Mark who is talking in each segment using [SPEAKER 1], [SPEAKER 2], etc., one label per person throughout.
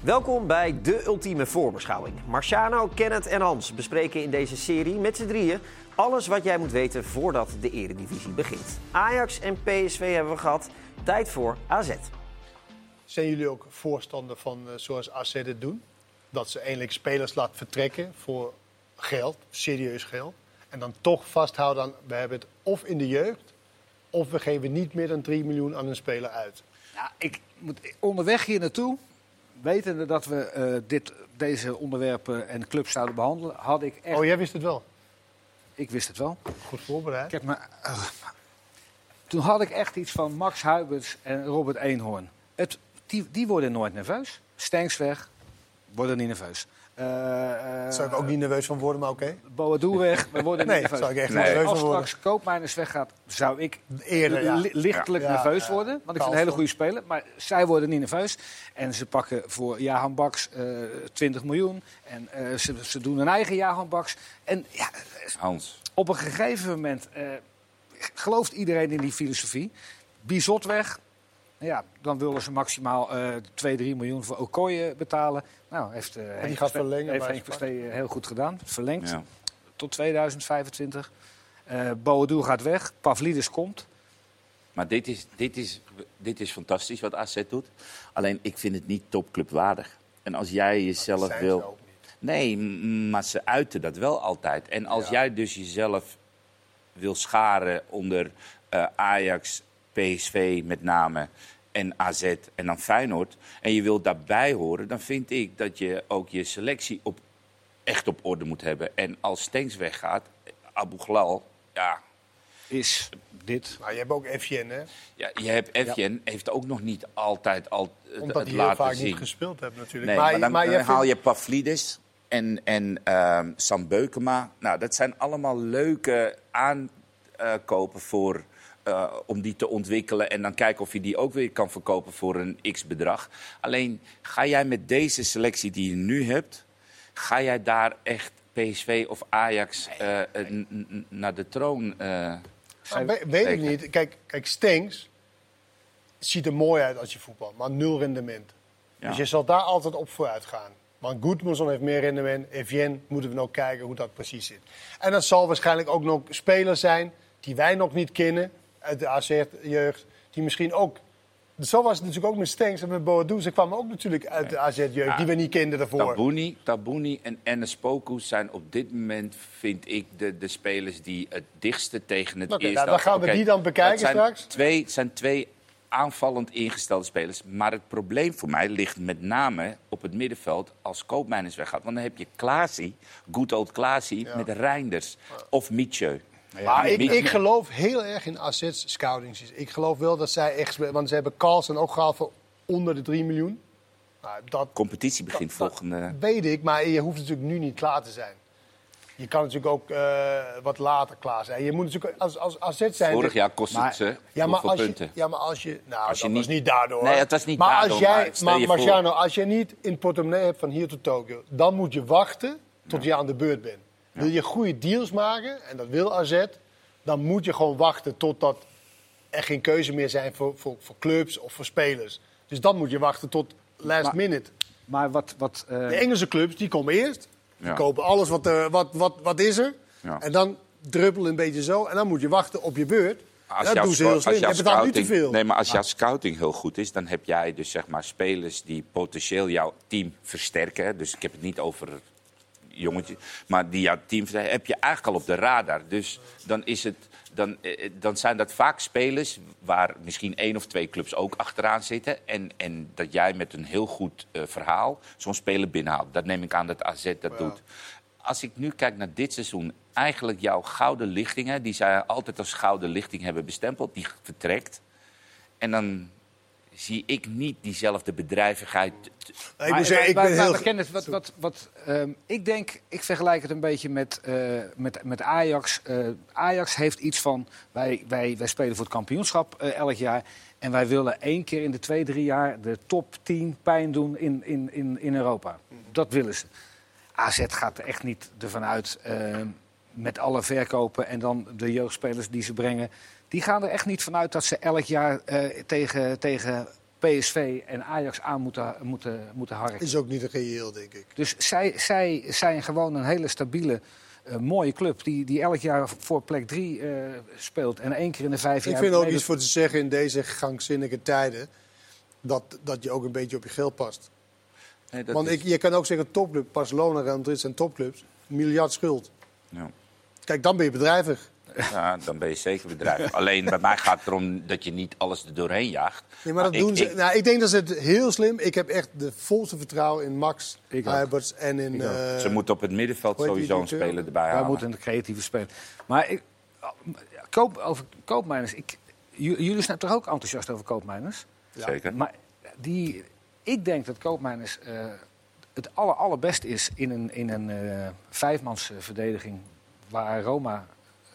[SPEAKER 1] Welkom bij de ultieme voorbeschouwing. Marciano, Kenneth en Hans bespreken in deze serie met z'n drieën alles wat jij moet weten voordat de eredivisie begint. Ajax en PSV hebben we gehad. Tijd voor AZ.
[SPEAKER 2] Zijn jullie ook voorstander van eh, zoals AZ het doen? Dat ze eindelijk spelers laat vertrekken voor geld, serieus geld. En dan toch vasthouden aan, we hebben het of in de jeugd... of we geven niet meer dan 3 miljoen aan een speler uit.
[SPEAKER 3] Ja, ik moet onderweg hier naartoe, wetende dat we eh, dit, deze onderwerpen en clubs zouden behandelen, had ik echt.
[SPEAKER 2] Oh, jij wist het wel.
[SPEAKER 3] Ik wist het wel.
[SPEAKER 2] Goed
[SPEAKER 3] Ik
[SPEAKER 2] voorbereid.
[SPEAKER 3] heb me, eh, toen had ik echt iets van Max Huiberts en Robert Eenhoorn. Het, die, die worden nooit nerveus. Stenks weg, worden niet nerveus. Eh, eh,
[SPEAKER 2] Daar zou ik ook niet nerveus van worden, maar oké.
[SPEAKER 3] Boadu weg, we worden
[SPEAKER 2] Nee,
[SPEAKER 3] niet nerveus.
[SPEAKER 2] zou ik echt
[SPEAKER 3] Dus
[SPEAKER 2] nerveus
[SPEAKER 3] Als
[SPEAKER 2] van worden.
[SPEAKER 3] straks Koopmijners weggaat, zou ik
[SPEAKER 2] Eerder, ja.
[SPEAKER 3] li- lichtelijk
[SPEAKER 2] Ja,
[SPEAKER 3] nerveus
[SPEAKER 2] ja.
[SPEAKER 3] worden. Want ik vind
[SPEAKER 2] Carlsen.
[SPEAKER 3] een hele goede speler. Maar zij worden niet nerveus. En ze pakken voor Jahan Baks eh, 20 miljoen. En eh, ze, ze doen hun eigen Jahan Baks. En ja,
[SPEAKER 4] Hans.
[SPEAKER 3] op een gegeven moment eh, gelooft iedereen in die filosofie. Bizot weg. Ja, dan willen ze maximaal eh 2, 3 miljoen voor Okoye betalen. Nou, heeft, eh Henk
[SPEAKER 2] gaat
[SPEAKER 3] Verste-
[SPEAKER 2] verlengen
[SPEAKER 3] heeft
[SPEAKER 2] bij
[SPEAKER 3] Henk
[SPEAKER 2] Sparta.
[SPEAKER 3] Verstee, eh, heel goed gedaan. Verlengd
[SPEAKER 4] Ja.
[SPEAKER 3] tot 2025. Eh Boadu gaat weg. Pavlidis komt.
[SPEAKER 4] Maar dit is, dit, is, dit is fantastisch wat AZ doet. Alleen ik vind het niet topclubwaardig. En als jij jezelf
[SPEAKER 2] zijn ze
[SPEAKER 4] wil.
[SPEAKER 2] ook niet.
[SPEAKER 4] Nee, m- maar ze uiten dat wel altijd. En als
[SPEAKER 2] Ja.
[SPEAKER 4] jij dus jezelf wil scharen onder eh, Ajax, PSV met name. En AZ en dan Feyenoord. En je wilt daarbij horen, dan vind ik dat je ook je selectie op, echt op orde moet hebben. En als Stenks weggaat, Abu Ghlal, ja,
[SPEAKER 3] Is dit.
[SPEAKER 2] Maar je hebt ook FJN, hè?
[SPEAKER 4] Ja, je hebt Evjen heeft ook nog niet altijd al het,
[SPEAKER 2] Omdat
[SPEAKER 4] het
[SPEAKER 2] die heel
[SPEAKER 4] laten
[SPEAKER 2] vaak
[SPEAKER 4] zien.
[SPEAKER 2] niet gespeeld hebben natuurlijk.
[SPEAKER 4] nee, maar, dan, dan
[SPEAKER 2] jij
[SPEAKER 4] haal
[SPEAKER 2] vindt-
[SPEAKER 4] je Pavlidis en, en ehm, Sam Beukema. Nou, dat zijn allemaal leuke aankopen voor, eh, om die te ontwikkelen. En dan kijken of je die ook weer kan verkopen voor een x-bedrag. Alleen, ga jij met deze selectie die je nu hebt... ga jij daar echt PSV of Ajax eh, eh, n- n- naar de troon... eh,
[SPEAKER 2] Nou, we- weet ik
[SPEAKER 4] Zeker.
[SPEAKER 2] niet. Kijk, kijk Stengs ziet er mooi uit als je voetbal, maar nul rendement.
[SPEAKER 4] Ja.
[SPEAKER 2] Dus je zal daar altijd op vooruit gaan. Want Goodmanson heeft meer rendement. Evjen moeten we nog kijken hoe dat precies zit. En dat zal waarschijnlijk ook nog spelers zijn die wij nog niet kennen uit de AZ-jeugd. Die misschien ook... Zo was het natuurlijk ook met Stengs en met Boadu. Ze kwamen ook natuurlijk uit de AZ-jeugd die we niet kenden daarvoor.
[SPEAKER 4] Tabouni, Tabouni en Enes Poku zijn op dit moment, vind ik, de, de spelers die het dichtste tegen het
[SPEAKER 2] Oké,
[SPEAKER 4] eerste...
[SPEAKER 2] nou, dan gaan we
[SPEAKER 4] Oké,
[SPEAKER 2] die dan bekijken
[SPEAKER 4] het zijn
[SPEAKER 2] straks.
[SPEAKER 4] Twee, het zijn twee aanvallend ingestelde spelers. Maar het probleem voor mij ligt met name op het middenveld als Koopmeiners weggaat. Want dan heb je Klaasie, good old Klaasie, met Reinders of Mietje.
[SPEAKER 2] Maar ik, ik geloof heel erg in assets scouting. Dus Ik geloof wel dat zij echt... spe- Want ze hebben Carlsen ook gehaald voor onder de 3 miljoen. Nou, dat
[SPEAKER 4] Competitie begint volgende...
[SPEAKER 2] weet ik, maar je hoeft natuurlijk nu niet klaar te zijn. Je kan natuurlijk ook eh, wat later klaar zijn. Je moet natuurlijk als, als asset zijn...
[SPEAKER 4] Vorig jaar kost
[SPEAKER 3] Maar-
[SPEAKER 4] het ze
[SPEAKER 2] ja, maar
[SPEAKER 4] hoeveel
[SPEAKER 2] als je,
[SPEAKER 4] punten.
[SPEAKER 2] ja, maar als je... Nou,
[SPEAKER 4] Als je
[SPEAKER 2] dat was
[SPEAKER 4] niet-
[SPEAKER 2] niet daardoor.
[SPEAKER 4] Nee, het was niet
[SPEAKER 2] maar Als
[SPEAKER 4] daardoor, maar
[SPEAKER 2] jij,
[SPEAKER 4] stel
[SPEAKER 2] maar
[SPEAKER 4] je voor.
[SPEAKER 2] Marciano, als je niet in portemonnee hebt van hier tot Tokio... dan moet je wachten tot je aan de beurt bent. Wil je goede deals maken, en dat wil AZ... dan moet je gewoon wachten totdat er geen keuze meer zijn voor, voor, voor clubs of voor spelers. Dus dan moet je wachten tot last
[SPEAKER 3] Maar-
[SPEAKER 2] minute.
[SPEAKER 3] Maar wat. wat eh,
[SPEAKER 2] De Engelse clubs die komen eerst. Die
[SPEAKER 4] Ja.
[SPEAKER 2] kopen alles wat, er- wat, wat, wat is er.
[SPEAKER 4] Ja.
[SPEAKER 2] En dan druppelen een beetje zo. En dan moet je wachten op je beurt.
[SPEAKER 4] Als
[SPEAKER 2] dat
[SPEAKER 4] jouw
[SPEAKER 2] doen ze
[SPEAKER 4] sco-
[SPEAKER 2] heel
[SPEAKER 4] als
[SPEAKER 2] slim.
[SPEAKER 4] jouw
[SPEAKER 2] Je betaalt nu te
[SPEAKER 4] scouting-
[SPEAKER 2] veel.
[SPEAKER 4] Nee, maar als jouw scouting heel goed is, dan heb jij dus zeg maar spelers die potentieel jouw team versterken. hè. Dus ik heb het niet over jongetjes, maar die jouw team versterken, heb je eigenlijk al op de radar. Dus dan is het. Dan, eh, eh, dan zijn dat vaak spelers waar misschien één of twee clubs ook achteraan zitten. En, en dat jij met een heel goed eh, verhaal zo'n speler binnenhaalt. Dat neem ik aan dat AZ dat doet. Als ik nu kijk naar dit seizoen, eigenlijk jouw gouden lichtingen, die zij altijd als gouden lichting hebben bestempeld, die vertrekt. En dan zie ik niet diezelfde bedrijvigheid. t-
[SPEAKER 2] ik
[SPEAKER 3] maar-
[SPEAKER 2] moet zeggen, ik
[SPEAKER 3] maar-
[SPEAKER 2] ben
[SPEAKER 3] maar-
[SPEAKER 2] heel...
[SPEAKER 3] maar Kenneth, wat, wat, wat, ehm, ik denk, ik vergelijk het een beetje met, eh, met, met Ajax. Eh, Ajax heeft iets van, wij, wij, wij spelen voor het kampioenschap eh, elk jaar. En wij willen één keer in de twee, drie jaar de top 10 pijn doen in, in, in, in Europa. Dat willen ze. AZ gaat er echt niet ervan uit ehm, met alle verkopen en dan de jeugdspelers die ze brengen. Die gaan er echt niet vanuit dat ze elk jaar eh, tegen, tegen PSV en Ajax aan moeten, moeten, moeten harken.
[SPEAKER 2] Is ook niet reëel, denk ik.
[SPEAKER 3] Dus zij, zij zijn gewoon een hele stabiele, eh, mooie club. Die, die elk jaar voor plek drie eh, speelt. En één keer in de vijf
[SPEAKER 2] Ik
[SPEAKER 3] jaar.
[SPEAKER 2] vind er ook
[SPEAKER 3] meedoet.
[SPEAKER 2] iets voor te zeggen in deze gangzinnige tijden. Dat, dat je ook een beetje op je geld past.
[SPEAKER 4] Nee, dat
[SPEAKER 2] Want
[SPEAKER 4] is-
[SPEAKER 2] ik, je kan ook zeggen, topclub, Barcelona, Real Madrid zijn topclubs. Miljard schuld.
[SPEAKER 4] ja.
[SPEAKER 2] Kijk, dan ben je bedrijvig.
[SPEAKER 4] Ja, dan ben je zeker bedrijf. Alleen bij mij gaat het erom dat je niet alles er doorheen jaagt.
[SPEAKER 2] Nee, maar dat
[SPEAKER 3] Ah,
[SPEAKER 4] ik-
[SPEAKER 2] doen ze.
[SPEAKER 4] ik-
[SPEAKER 2] nou, ik denk dat ze het heel slim. Ik heb echt de volste vertrouwen in Max,
[SPEAKER 3] Ik ook.
[SPEAKER 2] Alberts en in.
[SPEAKER 3] ook.
[SPEAKER 2] eh,
[SPEAKER 4] ze moeten op het middenveld
[SPEAKER 2] hoe heet die
[SPEAKER 4] sowieso een
[SPEAKER 2] directeur?
[SPEAKER 4] speler erbij
[SPEAKER 3] Wij
[SPEAKER 4] halen.
[SPEAKER 3] moeten een creatieve speler. Maar ik, oh, koop, over koopmijners. Ik, j- jullie zijn toch ook enthousiast over koopmijners?
[SPEAKER 4] Zeker.
[SPEAKER 3] Maar die, ik denk dat Koopmeiners eh, het aller, allerbeste is in een, in een eh, vijfmansverdediging waar Roma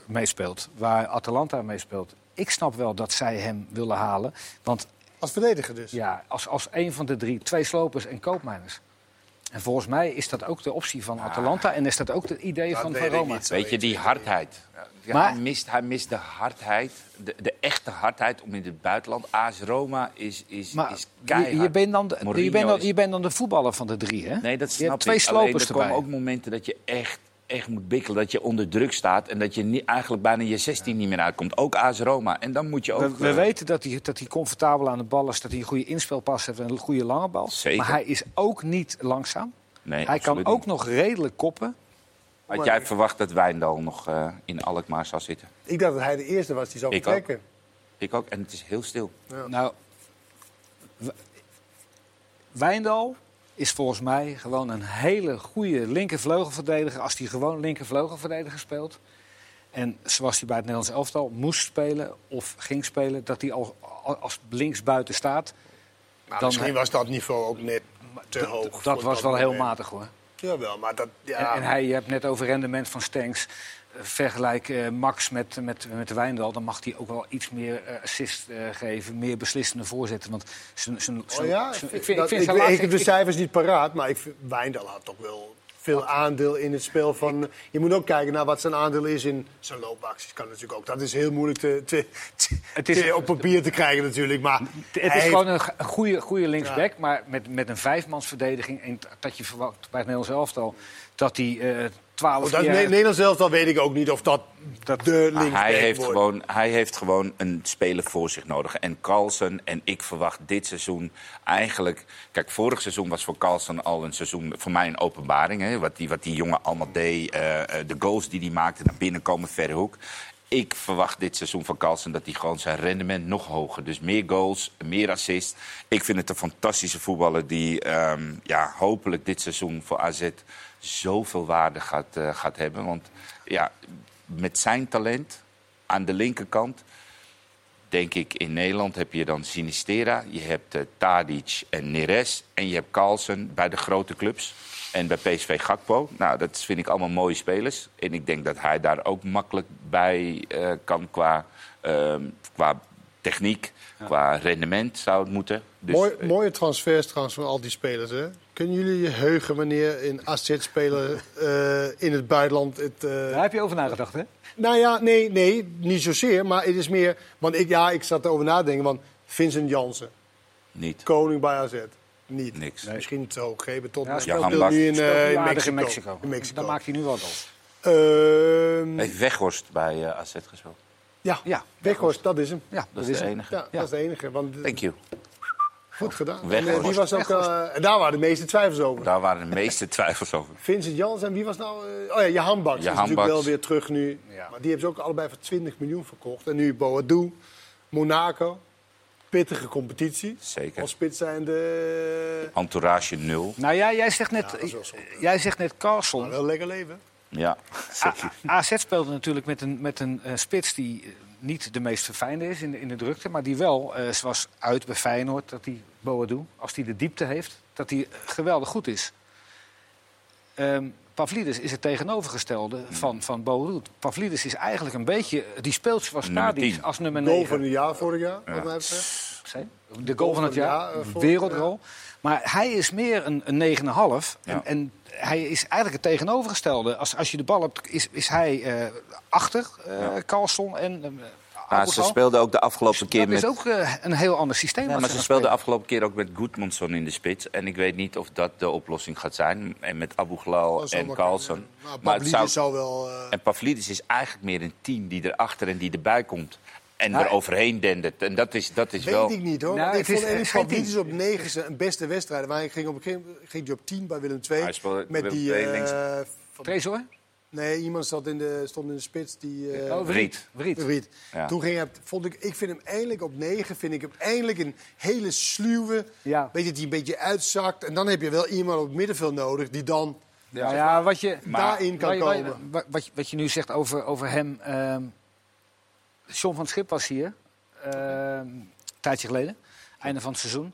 [SPEAKER 3] meespeelt, waar Atalanta meespeelt. Ik snap wel dat zij hem willen halen. Want
[SPEAKER 2] als verdediger dus.
[SPEAKER 3] ja, als, als een van de drie, twee slopers en Koopmeiners. En volgens mij is dat ook de optie van Atalanta en is dat ook het idee
[SPEAKER 2] Dat
[SPEAKER 3] van,
[SPEAKER 2] weet
[SPEAKER 3] van
[SPEAKER 2] ik
[SPEAKER 3] Roma.
[SPEAKER 2] niet.
[SPEAKER 4] Weet je, die hardheid. Ja,
[SPEAKER 3] Maar-
[SPEAKER 4] hij, mist, hij mist de hardheid, de, de echte hardheid om in het buitenland. AS Roma is, is,
[SPEAKER 3] Maar
[SPEAKER 4] is
[SPEAKER 3] je,
[SPEAKER 4] keihard.
[SPEAKER 3] je, bent dan de, je,
[SPEAKER 4] Mourinho
[SPEAKER 3] bent dan,
[SPEAKER 4] is-
[SPEAKER 3] je bent dan de voetballer van de drie, hè?
[SPEAKER 4] Nee, dat
[SPEAKER 3] je
[SPEAKER 4] snap
[SPEAKER 3] hebt twee
[SPEAKER 4] ik. Alleen,
[SPEAKER 3] slopers
[SPEAKER 4] er
[SPEAKER 3] erbij.
[SPEAKER 4] komen ook momenten dat je echt, echt moet bikkelen. Dat je onder druk staat en dat je niet, eigenlijk bijna je 16 niet meer uitkomt. Ook AS Roma. En dan moet je
[SPEAKER 3] We,
[SPEAKER 4] ook...
[SPEAKER 3] we
[SPEAKER 4] eh,
[SPEAKER 3] weten dat hij, dat hij comfortabel aan de bal is, dat hij een goede inspelpas heeft en een goede lange bal.
[SPEAKER 4] Zeker.
[SPEAKER 3] Maar hij is ook niet langzaam.
[SPEAKER 4] Nee,
[SPEAKER 3] hij kan
[SPEAKER 4] absoluut
[SPEAKER 3] ook
[SPEAKER 4] niet.
[SPEAKER 3] nog redelijk koppen.
[SPEAKER 4] Had jij verwacht dat Wijndal nog eh, in Alkmaar zou zitten?
[SPEAKER 2] Ik dacht dat hij de eerste was die zou
[SPEAKER 4] Ik
[SPEAKER 2] vertrekken.
[SPEAKER 4] Ik ook. En het is heel stil.
[SPEAKER 3] Nou, W- Wijndal is volgens mij gewoon een hele goede linkervleugelverdediger. Als hij gewoon linkervleugelverdediger speelt. En zoals hij bij het Nederlands elftal moest spelen of ging spelen, dat hij al, al- als linksbuiten staat.
[SPEAKER 2] Maar
[SPEAKER 3] Dan-
[SPEAKER 2] misschien was dat niveau ook net te
[SPEAKER 3] Dat-
[SPEAKER 2] hoog.
[SPEAKER 3] dat
[SPEAKER 2] voor
[SPEAKER 3] was wel heel
[SPEAKER 2] moment.
[SPEAKER 3] matig hoor.
[SPEAKER 2] Jawel, maar dat. Ja.
[SPEAKER 3] En, en hij, je hebt net over rendement van Stenks. Eh, Vergelijk eh, Max met, met, met Wijndal. Dan mag hij ook wel iets meer eh, assist eh, geven. Meer beslissende voorzetten. Want zijn, zijn,
[SPEAKER 2] Oh
[SPEAKER 3] zijn-
[SPEAKER 2] ja,
[SPEAKER 3] zijn-
[SPEAKER 2] ik, vind, ik,
[SPEAKER 3] zijn
[SPEAKER 2] ik,
[SPEAKER 3] laatste-
[SPEAKER 2] heb de
[SPEAKER 3] ik-
[SPEAKER 2] cijfers niet paraat, maar ik, vind- Wijndal had toch wel veel aandeel in het spel van... Je moet ook kijken naar wat zijn aandeel is in zijn loopacties. Kan natuurlijk ook. Dat is heel moeilijk te, te, te-
[SPEAKER 3] Het is-
[SPEAKER 2] te- op papier te krijgen natuurlijk, maar...
[SPEAKER 3] Het
[SPEAKER 2] hij
[SPEAKER 3] is
[SPEAKER 2] heeft-
[SPEAKER 3] gewoon een g- goede, goede linksback, maar met, met een vijfmansverdediging. En t- dat je verwacht bij het Nederlands elftal dat hij eh twaalf
[SPEAKER 2] Want Oh, dat
[SPEAKER 3] jaar...
[SPEAKER 2] Ne- Nederlands elftal weet ik ook niet of dat, de
[SPEAKER 4] Maar
[SPEAKER 2] linksback
[SPEAKER 4] Ah, hij, heeft
[SPEAKER 2] wordt.
[SPEAKER 4] gewoon, hij heeft gewoon een speler voor zich nodig. En Carlsen, en ik verwacht dit seizoen eigenlijk... Kijk, vorig seizoen was voor Carlsen al een seizoen, voor mij een openbaring. Hè? Wat, die, wat die jongen allemaal deed, eh, eh, de goals die hij maakte, naar binnen komen, verre hoek. Ik verwacht dit seizoen van Carlsen dat hij gewoon zijn rendement nog hoger... dus meer goals, meer assists. Ik vind het een fantastische voetballer die ehm, ja, hopelijk dit seizoen voor AZ... zoveel waarde gaat, eh, gaat hebben. Want ja, met zijn talent aan de linkerkant. Denk ik, in Nederland heb je dan Sinistera, je hebt eh, Tadic en Neres... en je hebt Carlsen bij de grote clubs en bij PSV Gakpo. Nou, dat vind ik allemaal mooie spelers. En ik denk dat hij daar ook makkelijk bij eh, kan qua, ehm, qua techniek, qua rendement zou het moeten. Dus,
[SPEAKER 2] Mooi,
[SPEAKER 4] eh,
[SPEAKER 2] mooie transfers trouwens van al die spelers. Hè? Kunnen jullie je heugen wanneer een AZ-speler eh, in het buitenland het, eh,
[SPEAKER 3] Daar heb je over nagedacht, hè?
[SPEAKER 2] Nou ja, nee, nee, niet zozeer. Maar het is meer. Want ik, ja, ik zat erover na te denken. Want Vincent Jansen,
[SPEAKER 4] Niet.
[SPEAKER 2] koning bij AZ. Niet.
[SPEAKER 4] Niks. Nee.
[SPEAKER 2] Misschien te hoog gegeven tot.
[SPEAKER 3] Ja,
[SPEAKER 2] Ja,
[SPEAKER 4] Johan
[SPEAKER 2] speelt nu
[SPEAKER 4] Bas.
[SPEAKER 2] in,
[SPEAKER 3] Speelt nu
[SPEAKER 2] eh, in,
[SPEAKER 3] aardig
[SPEAKER 2] Mexico.
[SPEAKER 3] in Mexico.
[SPEAKER 2] In Mexico.
[SPEAKER 3] Dan maakt hij nu wel goals.
[SPEAKER 2] Ehm,
[SPEAKER 4] Heeft Weghorst bij eh, AZ gespeeld.
[SPEAKER 2] ja,
[SPEAKER 3] Ja,
[SPEAKER 2] Weghorst, dat is hem.
[SPEAKER 3] Ja, dat,
[SPEAKER 4] Dat is
[SPEAKER 3] is
[SPEAKER 4] de
[SPEAKER 3] hem.
[SPEAKER 4] enige.
[SPEAKER 2] Ja, dat is de enige. Want eh,
[SPEAKER 4] Thank you.
[SPEAKER 2] goed gedaan.
[SPEAKER 4] Weghorst.
[SPEAKER 2] En, eh, die was ook, eh, en daar waren de meeste twijfels over.
[SPEAKER 4] Daar waren de meeste twijfels over.
[SPEAKER 2] Vincent Jansen en wie was nou... eh, oh ja, Jahan Baks is
[SPEAKER 4] Jahan
[SPEAKER 2] natuurlijk wel
[SPEAKER 4] Baks.
[SPEAKER 2] weer terug nu.
[SPEAKER 3] Ja.
[SPEAKER 2] Maar die hebben ze ook allebei voor 20 miljoen verkocht. En nu Boadu, Monaco. Pittige competitie.
[SPEAKER 4] Zeker.
[SPEAKER 2] Als spits eh, zijn de...
[SPEAKER 4] Entourage nul.
[SPEAKER 3] Nou ja, jij zegt net,
[SPEAKER 2] dat is wel zonde.
[SPEAKER 3] jij zegt net Carlson.
[SPEAKER 2] Wel lekker leven.
[SPEAKER 4] Ja, zeker.
[SPEAKER 3] A- AZ speelde natuurlijk met een, met een eh, spits die eh, niet de meest verfijnde is in de, in de drukte. Maar die wel, eh, zoals uit bij Feyenoord, dat die Boadu, als die de diepte heeft, dat die eh, geweldig goed is. Ehm Pavlidis is het tegenovergestelde van, van Boadu. Pavlidis is eigenlijk een beetje, die speelt zoals
[SPEAKER 4] Nummer
[SPEAKER 3] Tadic
[SPEAKER 4] 10.
[SPEAKER 3] als nummer
[SPEAKER 2] Goal van
[SPEAKER 3] 9.
[SPEAKER 2] het jaar vorig jaar, wat mij betreft.
[SPEAKER 3] Zijn? De goal van het
[SPEAKER 2] van het
[SPEAKER 3] jaar,
[SPEAKER 2] jaar, eh, voor-
[SPEAKER 3] wereldrol. Maar hij is meer een, een 9,5. En,
[SPEAKER 4] Ja.
[SPEAKER 3] en hij is eigenlijk het tegenovergestelde. Als, als je de bal hebt, is, is hij eh, achter eh Carlson en eh,
[SPEAKER 4] Maar ze
[SPEAKER 3] Portugal.
[SPEAKER 4] speelden ook de afgelopen keer
[SPEAKER 3] Dat
[SPEAKER 4] met...
[SPEAKER 3] is ook eh, een heel ander systeem.
[SPEAKER 4] Ja,
[SPEAKER 3] wat
[SPEAKER 4] maar ze
[SPEAKER 3] gaan
[SPEAKER 4] speelden
[SPEAKER 3] spelen.
[SPEAKER 4] afgelopen keer ook met Goodmanson in de spits. En ik weet niet of dat de oplossing gaat zijn. En met Abu Ghlal
[SPEAKER 2] Dat zal
[SPEAKER 4] en
[SPEAKER 2] wel
[SPEAKER 4] Carlsen.
[SPEAKER 2] kunnen. Maar
[SPEAKER 4] Maar het
[SPEAKER 2] Pavlidis
[SPEAKER 4] zou...
[SPEAKER 2] zou wel... eh,
[SPEAKER 4] En Pavlidis is eigenlijk meer een team die erachter en die erbij komt. En
[SPEAKER 3] Ja,
[SPEAKER 4] er overheen dendert. En dat is, dat is
[SPEAKER 2] Weet
[SPEAKER 4] wel...
[SPEAKER 2] ik niet hoor.
[SPEAKER 3] Nou,
[SPEAKER 2] Want ik vond
[SPEAKER 3] het is- het
[SPEAKER 2] Elie
[SPEAKER 3] is geen
[SPEAKER 2] Fabrice op 9 zijn beste wedstrijd. Waar ik ging op een gegeven moment ging die op 10 bij Willem II.
[SPEAKER 4] Hij speelde
[SPEAKER 2] met
[SPEAKER 4] Willem
[SPEAKER 2] die.
[SPEAKER 4] II
[SPEAKER 2] eh,
[SPEAKER 4] links.
[SPEAKER 2] van-
[SPEAKER 3] Tresor?
[SPEAKER 2] nee, iemand zat in de, stond in de spits die. eh,
[SPEAKER 3] Oh,
[SPEAKER 4] Wriet.
[SPEAKER 3] Wriet.
[SPEAKER 2] Wriet.
[SPEAKER 4] Ja.
[SPEAKER 2] Toen ging hij, vond ik, ik vind hem eindelijk op 9 vind ik hem eindelijk een hele sluwe.
[SPEAKER 3] Ja.
[SPEAKER 2] Weet je, die een beetje uitzakt. En dan heb je wel iemand op het middenveld nodig die dan
[SPEAKER 3] Nou ja, wat je,
[SPEAKER 2] daarin kan
[SPEAKER 3] wat, je- wat je-
[SPEAKER 2] komen.
[SPEAKER 3] wat- wat je- wat je nu zegt over, over hem. ehm John van het Schip was hier. ehm, een tijdje geleden. Einde van het seizoen.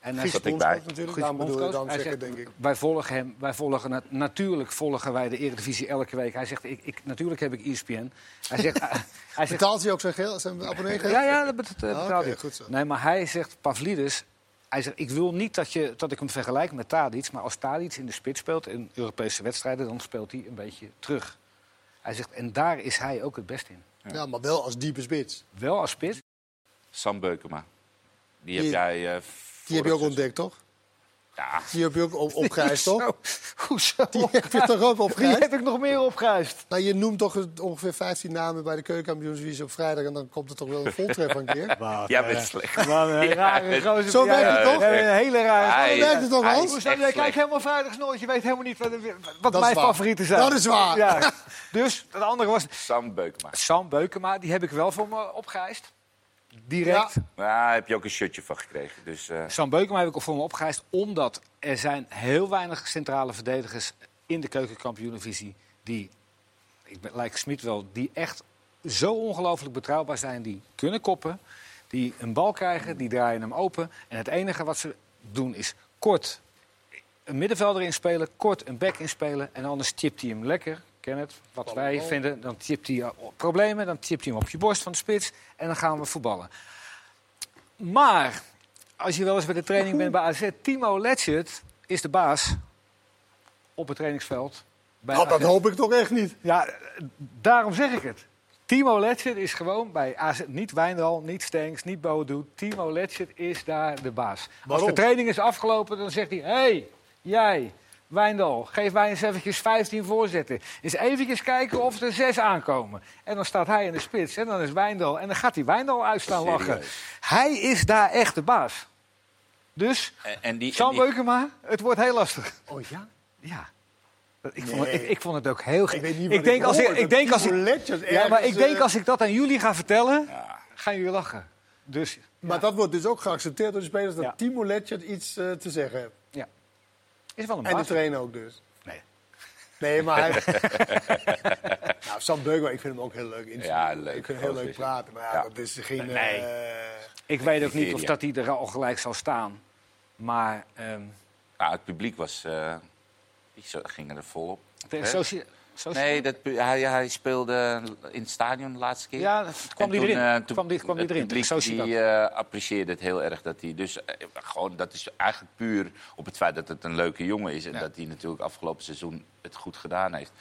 [SPEAKER 3] En hij
[SPEAKER 4] Zat
[SPEAKER 2] Griekse
[SPEAKER 4] ik bij.
[SPEAKER 2] bondscoach natuurlijk.
[SPEAKER 3] Goed,
[SPEAKER 2] Daarom bedoel ik
[SPEAKER 3] bondscoach.
[SPEAKER 2] dan
[SPEAKER 3] Hij
[SPEAKER 2] zeggen,
[SPEAKER 3] zegt,
[SPEAKER 2] denk ik.
[SPEAKER 3] Wij volgen hem, wij volgen nat- natuurlijk volgen wij de Eredivisie elke week. Hij zegt, ik, ik, natuurlijk heb ik E ESPN. Hij zegt, hij zegt
[SPEAKER 2] Betaalt hij ook zijn geld, zijn abonnee?
[SPEAKER 3] ja, ja, dat bet- dat
[SPEAKER 2] Ah,
[SPEAKER 3] betaalt
[SPEAKER 2] oké,
[SPEAKER 3] hij.
[SPEAKER 2] goed zo.
[SPEAKER 3] Nee, maar hij zegt, Pavlidis... Hij zegt, ik wil niet dat, je, dat ik hem vergelijk met Tadic... maar als Tadic in de spits speelt in Europese wedstrijden... dan speelt hij een beetje terug. Hij zegt, en daar is hij ook het best in.
[SPEAKER 2] Ja, maar wel als diepe spits.
[SPEAKER 3] Wel als spits.
[SPEAKER 4] Sam Beukema. Die
[SPEAKER 2] Die-
[SPEAKER 4] heb jij... eh,
[SPEAKER 2] Die heb je ook
[SPEAKER 4] vorig
[SPEAKER 2] ontdekt, toch?
[SPEAKER 4] Ja,
[SPEAKER 2] Die heb je ook op, opgeëist, toch?
[SPEAKER 3] Hoezo?
[SPEAKER 2] Die heb je toch ook
[SPEAKER 3] Die
[SPEAKER 2] opgeëist?
[SPEAKER 3] heb ik nog meer opgehuist.
[SPEAKER 2] Nou, je noemt toch het- ongeveer 15 namen bij de keukenkampioensvisie op vrijdag... en dan komt er toch wel een voltreffer een keer?
[SPEAKER 4] jij bent slecht.
[SPEAKER 3] Wat een rare gozer.
[SPEAKER 2] Zo werkt het
[SPEAKER 3] Ja,
[SPEAKER 2] toch?
[SPEAKER 3] ja, Een hele rare...
[SPEAKER 4] Hij-
[SPEAKER 2] Zo werkt het toch,
[SPEAKER 4] hij
[SPEAKER 2] Hans?
[SPEAKER 4] is
[SPEAKER 3] Hoezo?
[SPEAKER 4] echt
[SPEAKER 3] Jij kijkt
[SPEAKER 4] slecht.
[SPEAKER 3] helemaal vrijdagnoot. Je weet helemaal niet wat, wat
[SPEAKER 2] is
[SPEAKER 3] mijn
[SPEAKER 2] waar.
[SPEAKER 3] favorieten zijn.
[SPEAKER 2] Dat is waar.
[SPEAKER 3] Ja. Dus, het andere was...
[SPEAKER 4] Sam Beukema.
[SPEAKER 3] Sam Beukema, die heb ik wel voor me opgeëist. Direct.
[SPEAKER 2] Ja.
[SPEAKER 4] Daar heb je ook een shirtje van gekregen. Dus, eh,
[SPEAKER 3] Sam Beukema heb ik al voor me opgeëist. Omdat er zijn heel weinig centrale verdedigers in de keukenkampioenvisie die, ik ben, lijkt Smit wel, die echt zo ongelooflijk betrouwbaar zijn. Die kunnen koppen, die een bal krijgen, die draaien hem open. En het enige wat ze doen is kort een middenvelder inspelen, kort een back inspelen. En anders tipt hij hem lekker. Kenneth, wat wij vinden, dan tipt hij eh, op problemen, dan tipt hij hem op je borst van de spits en dan gaan we voetballen. Maar als je wel eens bij de training bent bij AZ, Timo Letchert is de baas op het trainingsveld. Bij
[SPEAKER 2] Nou, dat
[SPEAKER 3] AZ.
[SPEAKER 2] hoop ik toch echt niet.
[SPEAKER 3] Ja, eh, daarom zeg ik het. Timo Letchert is gewoon bij AZ, niet Wijndal, niet Stenks, niet Bodo. Timo Letchert is daar de baas.
[SPEAKER 2] Waarom?
[SPEAKER 3] Als de training is afgelopen, dan zegt hij... Hé, hey, jij, Wijndal, geef mij eens eventjes 15 voorzetten. Eens eventjes kijken of er zes aankomen. En dan staat hij in de spits en dan is Wijndal... en dan gaat hij Wijndal uitstaan
[SPEAKER 4] Serieus?
[SPEAKER 3] lachen. Hij is daar echt de baas. Dus,
[SPEAKER 4] en, en die,
[SPEAKER 3] Sam
[SPEAKER 4] en die-
[SPEAKER 3] Beukema, het wordt heel lastig.
[SPEAKER 2] Oh ja?
[SPEAKER 3] Ja. Ik vond, het, ik, ik vond het ook heel gek.
[SPEAKER 2] Ik weet niet
[SPEAKER 3] Ik,
[SPEAKER 2] wat
[SPEAKER 3] denk
[SPEAKER 2] ik
[SPEAKER 3] als ik,
[SPEAKER 2] hoor,
[SPEAKER 3] ik
[SPEAKER 2] dat
[SPEAKER 3] denk als
[SPEAKER 2] Timo
[SPEAKER 3] ik,
[SPEAKER 2] Letchert
[SPEAKER 3] ja, maar
[SPEAKER 2] ergens,
[SPEAKER 3] ik denk
[SPEAKER 2] eh,
[SPEAKER 3] als ik dat aan jullie ga vertellen, gaan jullie lachen. Dus
[SPEAKER 2] Maar dat wordt dus ook geaccepteerd door de spelers... dat
[SPEAKER 3] Ja.
[SPEAKER 2] Timo Letchert iets eh, te zeggen heeft.
[SPEAKER 3] ja, is wel een
[SPEAKER 2] En de
[SPEAKER 3] baas.
[SPEAKER 2] trainer ook dus.
[SPEAKER 3] Nee.
[SPEAKER 2] Nee, maar hij... nou, Sam Beukema, ik vind hem ook heel leuk. in zijn-
[SPEAKER 4] Ja, leuk.
[SPEAKER 2] Ik vind hem heel
[SPEAKER 4] Gozer
[SPEAKER 2] leuk
[SPEAKER 4] is hij.
[SPEAKER 2] praten. Maar ja,
[SPEAKER 4] Ja.
[SPEAKER 2] dat is geen...
[SPEAKER 3] Nee.
[SPEAKER 2] eh,
[SPEAKER 3] Ik weet ook niet of
[SPEAKER 4] Nigeria.
[SPEAKER 3] dat hij er al gelijk zal staan. Maar ehm
[SPEAKER 4] Nou, het publiek was... eh, die zo- gingen er volop.
[SPEAKER 3] de
[SPEAKER 4] Hè?
[SPEAKER 3] socia- socia-
[SPEAKER 4] Nee, dat, pu- hij, hij speelde in het stadion de laatste keer.
[SPEAKER 3] Ja, het kwam
[SPEAKER 4] En
[SPEAKER 3] die
[SPEAKER 4] toen,
[SPEAKER 3] erin.
[SPEAKER 4] eh,
[SPEAKER 3] Het kwam die- kwam die
[SPEAKER 4] het
[SPEAKER 3] erin.
[SPEAKER 4] publiek,
[SPEAKER 3] Zo zie je
[SPEAKER 4] die, eh, apprecieerde het heel erg. Dat hij dus, eh, gewoon, dat is eigenlijk puur op het feit dat het een leuke jongen is. En dat hij natuurlijk afgelopen seizoen het goed gedaan heeft.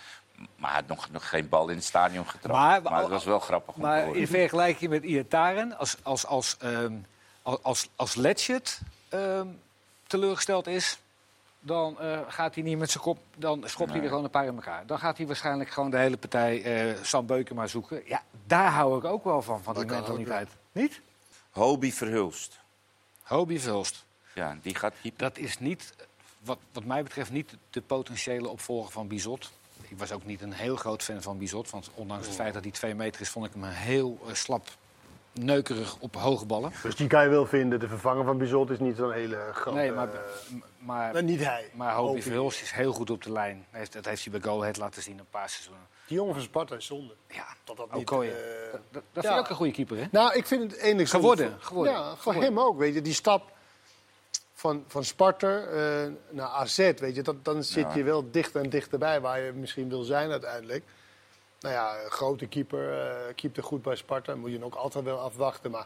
[SPEAKER 4] Maar hij had nog, nog geen bal in het stadion getrapt.
[SPEAKER 3] Maar-
[SPEAKER 4] Maar, het was wel grappig om te
[SPEAKER 3] Maar
[SPEAKER 4] horen.
[SPEAKER 3] in vergelijking met Iataren, als, als, als, ehm, als, als, als Letchert ehm, teleurgesteld is, dan eh, gaat hij niet met zijn kop, dan schopt hij er gewoon een paar in elkaar. Dan gaat hij waarschijnlijk gewoon de hele partij eh Sam Beukema zoeken. Ja, daar hou ik ook wel van, van die
[SPEAKER 2] Dat kan
[SPEAKER 3] mentaliteit. Niet?
[SPEAKER 4] Hobie Verhulst.
[SPEAKER 3] Hobie Vulst,
[SPEAKER 4] Ja, die gaat keeper.
[SPEAKER 3] dat is niet, eh, wat, wat mij betreft, niet de potentiële opvolger van Bizot. Ik was ook niet een heel groot fan van Bizot, want ondanks
[SPEAKER 2] Oh.
[SPEAKER 3] het feit dat hij twee meter is, vond ik hem heel eh, slap, neukerig op hoge ballen.
[SPEAKER 2] Dus die kan je wel vinden. De vervanger van Bizot is niet zo'n hele grote...
[SPEAKER 3] Nee, maar,
[SPEAKER 2] eh,
[SPEAKER 3] m- maar,
[SPEAKER 2] nou, niet hij.
[SPEAKER 3] maar Hobie
[SPEAKER 2] Hopie.
[SPEAKER 3] Verhulst is heel goed op de lijn. Hij heeft- Dat heeft hij bij Go Ahead laten zien een paar seizoenen.
[SPEAKER 2] Die jongen van Sparta is zonde.
[SPEAKER 3] Ja,
[SPEAKER 2] Dat dat niet,
[SPEAKER 3] Okoye.
[SPEAKER 2] eh,
[SPEAKER 3] dat dat- dat
[SPEAKER 2] ja.
[SPEAKER 3] vind ik ook een goede keeper, hè?
[SPEAKER 2] Nou, ik vind het enigszins...
[SPEAKER 3] Geworden,
[SPEAKER 2] voor-
[SPEAKER 3] geworden,
[SPEAKER 2] Ja, voor
[SPEAKER 3] geworden.
[SPEAKER 2] hem ook, weet je. Die stap van, van Sparta eh, naar AZ, weet je. Dat, dan zit je wel dichter en dichterbij waar je misschien wil zijn uiteindelijk. Nou ja, een grote keeper. eh keepte goed bij Sparta. Moet je hem ook altijd wel afwachten. Maar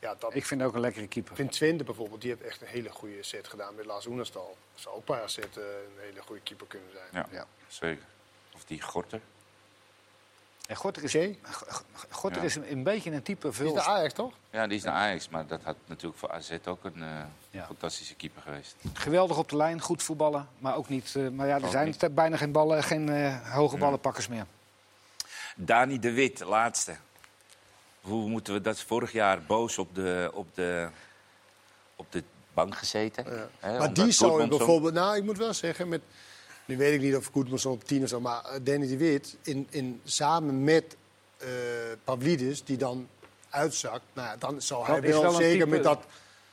[SPEAKER 2] ja, dat... Ik
[SPEAKER 3] Ik vind hem ook een lekkere keeper.
[SPEAKER 2] vind Twente bijvoorbeeld, die heeft echt een hele goede set gedaan met Lars Oenerstal. Zou ook bij AZ eh, een hele goede keeper kunnen zijn.
[SPEAKER 4] Ja, zeker. Of die Gorter.
[SPEAKER 3] En Gorter is,
[SPEAKER 2] Jay?
[SPEAKER 3] G- G- Gorter
[SPEAKER 4] Ja.
[SPEAKER 3] is een, een beetje een type
[SPEAKER 2] Is
[SPEAKER 3] Vul.
[SPEAKER 2] de Ajax toch?
[SPEAKER 4] Ja, die is naar Ajax, maar dat had natuurlijk voor AZ ook een eh,
[SPEAKER 3] Ja.
[SPEAKER 4] fantastische keeper geweest.
[SPEAKER 3] Geweldig op de lijn, goed voetballen, maar ook niet. eh, maar ja, er
[SPEAKER 4] Ook
[SPEAKER 3] zijn
[SPEAKER 4] niet.
[SPEAKER 3] te- bijna geen, ballen, geen eh, hoge ballenpakkers meer.
[SPEAKER 4] Dani de Wit, laatste. Hoe moeten we dat is vorig jaar boos op de, op de, op de bank gezeten? hè,
[SPEAKER 2] maar
[SPEAKER 4] omdat
[SPEAKER 2] die zou je
[SPEAKER 4] Goedmanson-
[SPEAKER 2] bijvoorbeeld... Nou, ik moet wel zeggen, met, nu weet ik niet of Goedmanson op 10 of zo... maar eh, Danny de Wit, in, in, samen met eh Pavlidis, die dan uitzakt... Nou, ja, dan zou hij
[SPEAKER 3] Dat is
[SPEAKER 2] wel,
[SPEAKER 3] wel een
[SPEAKER 2] zeker
[SPEAKER 3] type-
[SPEAKER 2] met dat,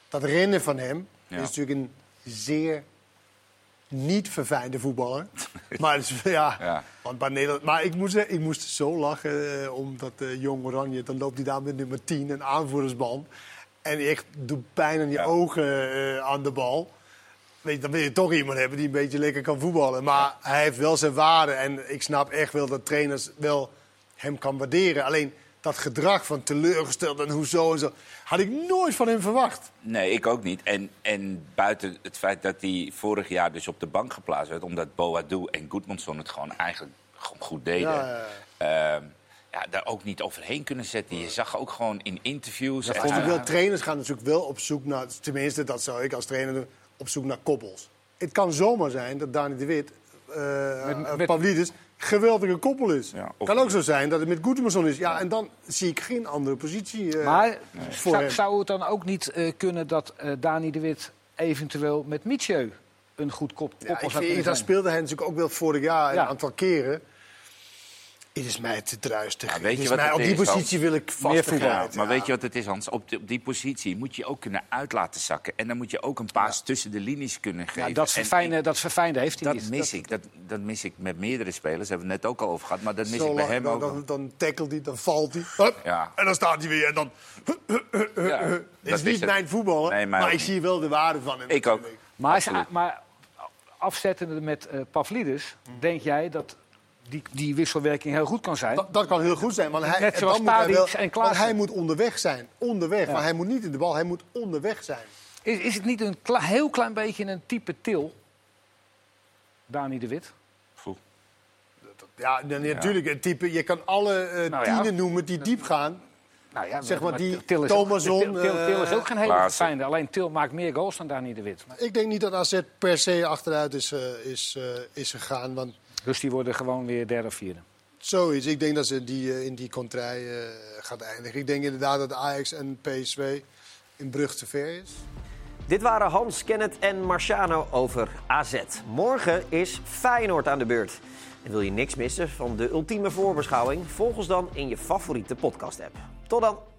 [SPEAKER 2] dat rennen van hem...
[SPEAKER 4] Ja.
[SPEAKER 2] is natuurlijk een zeer niet verfijnde voetballer. maar, het is- ja,
[SPEAKER 4] Ja.
[SPEAKER 2] Want bij Nederland, maar ik moest, ik moest zo lachen eh, omdat eh, Jong Oranje... dan loopt hij daar met nummer 10, een aanvoerdersband... en die echt doet pijn aan je
[SPEAKER 4] Ja.
[SPEAKER 2] ogen eh, aan de bal... Weet je, dan wil je toch iemand hebben die een beetje lekker kan voetballen. Maar hij heeft wel zijn waarde. En ik snap echt wel dat trainers wel hem kan waarderen. Alleen dat gedrag van teleurgesteld en hoezo en zo... had ik nooit van hem verwacht.
[SPEAKER 4] Nee, ik ook niet. En, en buiten het feit dat hij vorig jaar dus op de bank geplaatst werd... omdat Boadu en Goedmanson het gewoon eigenlijk gewoon goed deden.
[SPEAKER 2] Ja, ja,
[SPEAKER 4] ja. ja, daar ook niet overheen kunnen zetten. Je zag ook gewoon in interviews... en-
[SPEAKER 2] Dus wel, trainers gaan natuurlijk wel op zoek naar... tenminste, dat zou ik als trainer doen, op zoek naar koppels. Het kan zomaar zijn dat Dani de Wit, eh
[SPEAKER 3] Met- met-
[SPEAKER 2] Pavlidis... geweldige koppel is.
[SPEAKER 4] Ja, of-
[SPEAKER 2] Het kan ook zo zijn dat het met Goedemason is. Ja, en dan zie ik geen andere positie eh,
[SPEAKER 3] maar
[SPEAKER 2] voor
[SPEAKER 3] zou,
[SPEAKER 2] hem.
[SPEAKER 3] zou het dan ook niet eh, kunnen dat eh, Dani de Wit eventueel met Michieu een goed kop
[SPEAKER 2] Ja,
[SPEAKER 3] koppel
[SPEAKER 2] ik
[SPEAKER 3] zou
[SPEAKER 2] vind,
[SPEAKER 3] kunnen
[SPEAKER 2] dat
[SPEAKER 3] zijn?
[SPEAKER 2] speelde hij natuurlijk ook wel vorig jaar
[SPEAKER 3] Ja.
[SPEAKER 2] een aantal keren. Het is mij te druistig.
[SPEAKER 4] Ja, Ah, weet
[SPEAKER 2] Het
[SPEAKER 4] je
[SPEAKER 2] is
[SPEAKER 4] wat
[SPEAKER 2] mij,
[SPEAKER 4] het
[SPEAKER 2] Dus op die
[SPEAKER 4] is,
[SPEAKER 2] positie wil ik vastigheid.
[SPEAKER 4] Ja,
[SPEAKER 2] Ja.
[SPEAKER 4] maar weet je wat het is, Hans? Op, de- op die positie moet je ook kunnen uit laten zakken. En dan moet je ook een paas tussen de linies kunnen geven.
[SPEAKER 3] Ja, dat,
[SPEAKER 4] En
[SPEAKER 3] verfijnen, dat verfijnen heeft hij
[SPEAKER 4] Dat
[SPEAKER 3] niet.
[SPEAKER 4] mis ik. Dat, dat mis ik met meerdere spelers. Daar hebben we het net ook al over gehad. Maar dat mis
[SPEAKER 2] Zo
[SPEAKER 4] ik bij
[SPEAKER 2] lang,
[SPEAKER 4] hem
[SPEAKER 2] dan,
[SPEAKER 4] ook.
[SPEAKER 2] Dan, dan tackelt hij, dan valt hij. Hup,
[SPEAKER 4] Ja.
[SPEAKER 2] En dan staat hij weer. En dan.
[SPEAKER 4] Ja,
[SPEAKER 2] Het
[SPEAKER 4] dat
[SPEAKER 2] is niet
[SPEAKER 4] het.
[SPEAKER 2] mijn voetballen.
[SPEAKER 4] Nee, mij
[SPEAKER 2] maar
[SPEAKER 4] ook
[SPEAKER 2] ik
[SPEAKER 4] niet.
[SPEAKER 2] zie wel de waarde van hem.
[SPEAKER 4] Ik ook.
[SPEAKER 2] natuurlijk.
[SPEAKER 3] Maar, is-
[SPEAKER 4] Absoluut.
[SPEAKER 3] maar afzettende met eh, Pavlidis, denk jij dat die, die wisselwerking heel goed kan zijn?
[SPEAKER 2] Dat, dat kan heel goed zijn. Want hij,
[SPEAKER 3] Net
[SPEAKER 2] en
[SPEAKER 3] zoals
[SPEAKER 2] dan moet hij
[SPEAKER 3] Tadic
[SPEAKER 2] wel,
[SPEAKER 3] en Klaassen.
[SPEAKER 2] want hij moet onderweg zijn. Onderweg. Maar hij moet niet in de bal, hij moet onderweg zijn.
[SPEAKER 3] Is, is het niet een kle- heel klein beetje een type til, Dani de Wit?
[SPEAKER 4] Foe.
[SPEAKER 2] Ja, dan, natuurlijk. Een type, je kan alle eh
[SPEAKER 3] Nou ja.
[SPEAKER 2] tienen noemen die diep gaan.
[SPEAKER 3] Nou ja,
[SPEAKER 2] Zeg maar die eh,
[SPEAKER 3] Til is
[SPEAKER 2] Thomasson,
[SPEAKER 3] Til, Til- Til is ook geen hele
[SPEAKER 4] Klaassen.
[SPEAKER 3] fijne. Alleen Til maakt meer goals dan Dani de Wit.
[SPEAKER 2] Ik denk niet dat AZ per se achteruit is, eh, is, eh, is gegaan. Want
[SPEAKER 3] Dus die worden gewoon weer derde of vierde.
[SPEAKER 2] zoiets, ik denk dat ze die, eh, in die contrai eh, gaat eindigen. Ik denk inderdaad dat Ajax en PSV in brug te ver is.
[SPEAKER 1] Dit waren Hans, Kenneth en Marciano over AZ. Morgen is Feyenoord aan de beurt. En wil je niks missen van de ultieme voorbeschouwing? Volg ons dan in je favoriete podcast-app. Tot dan!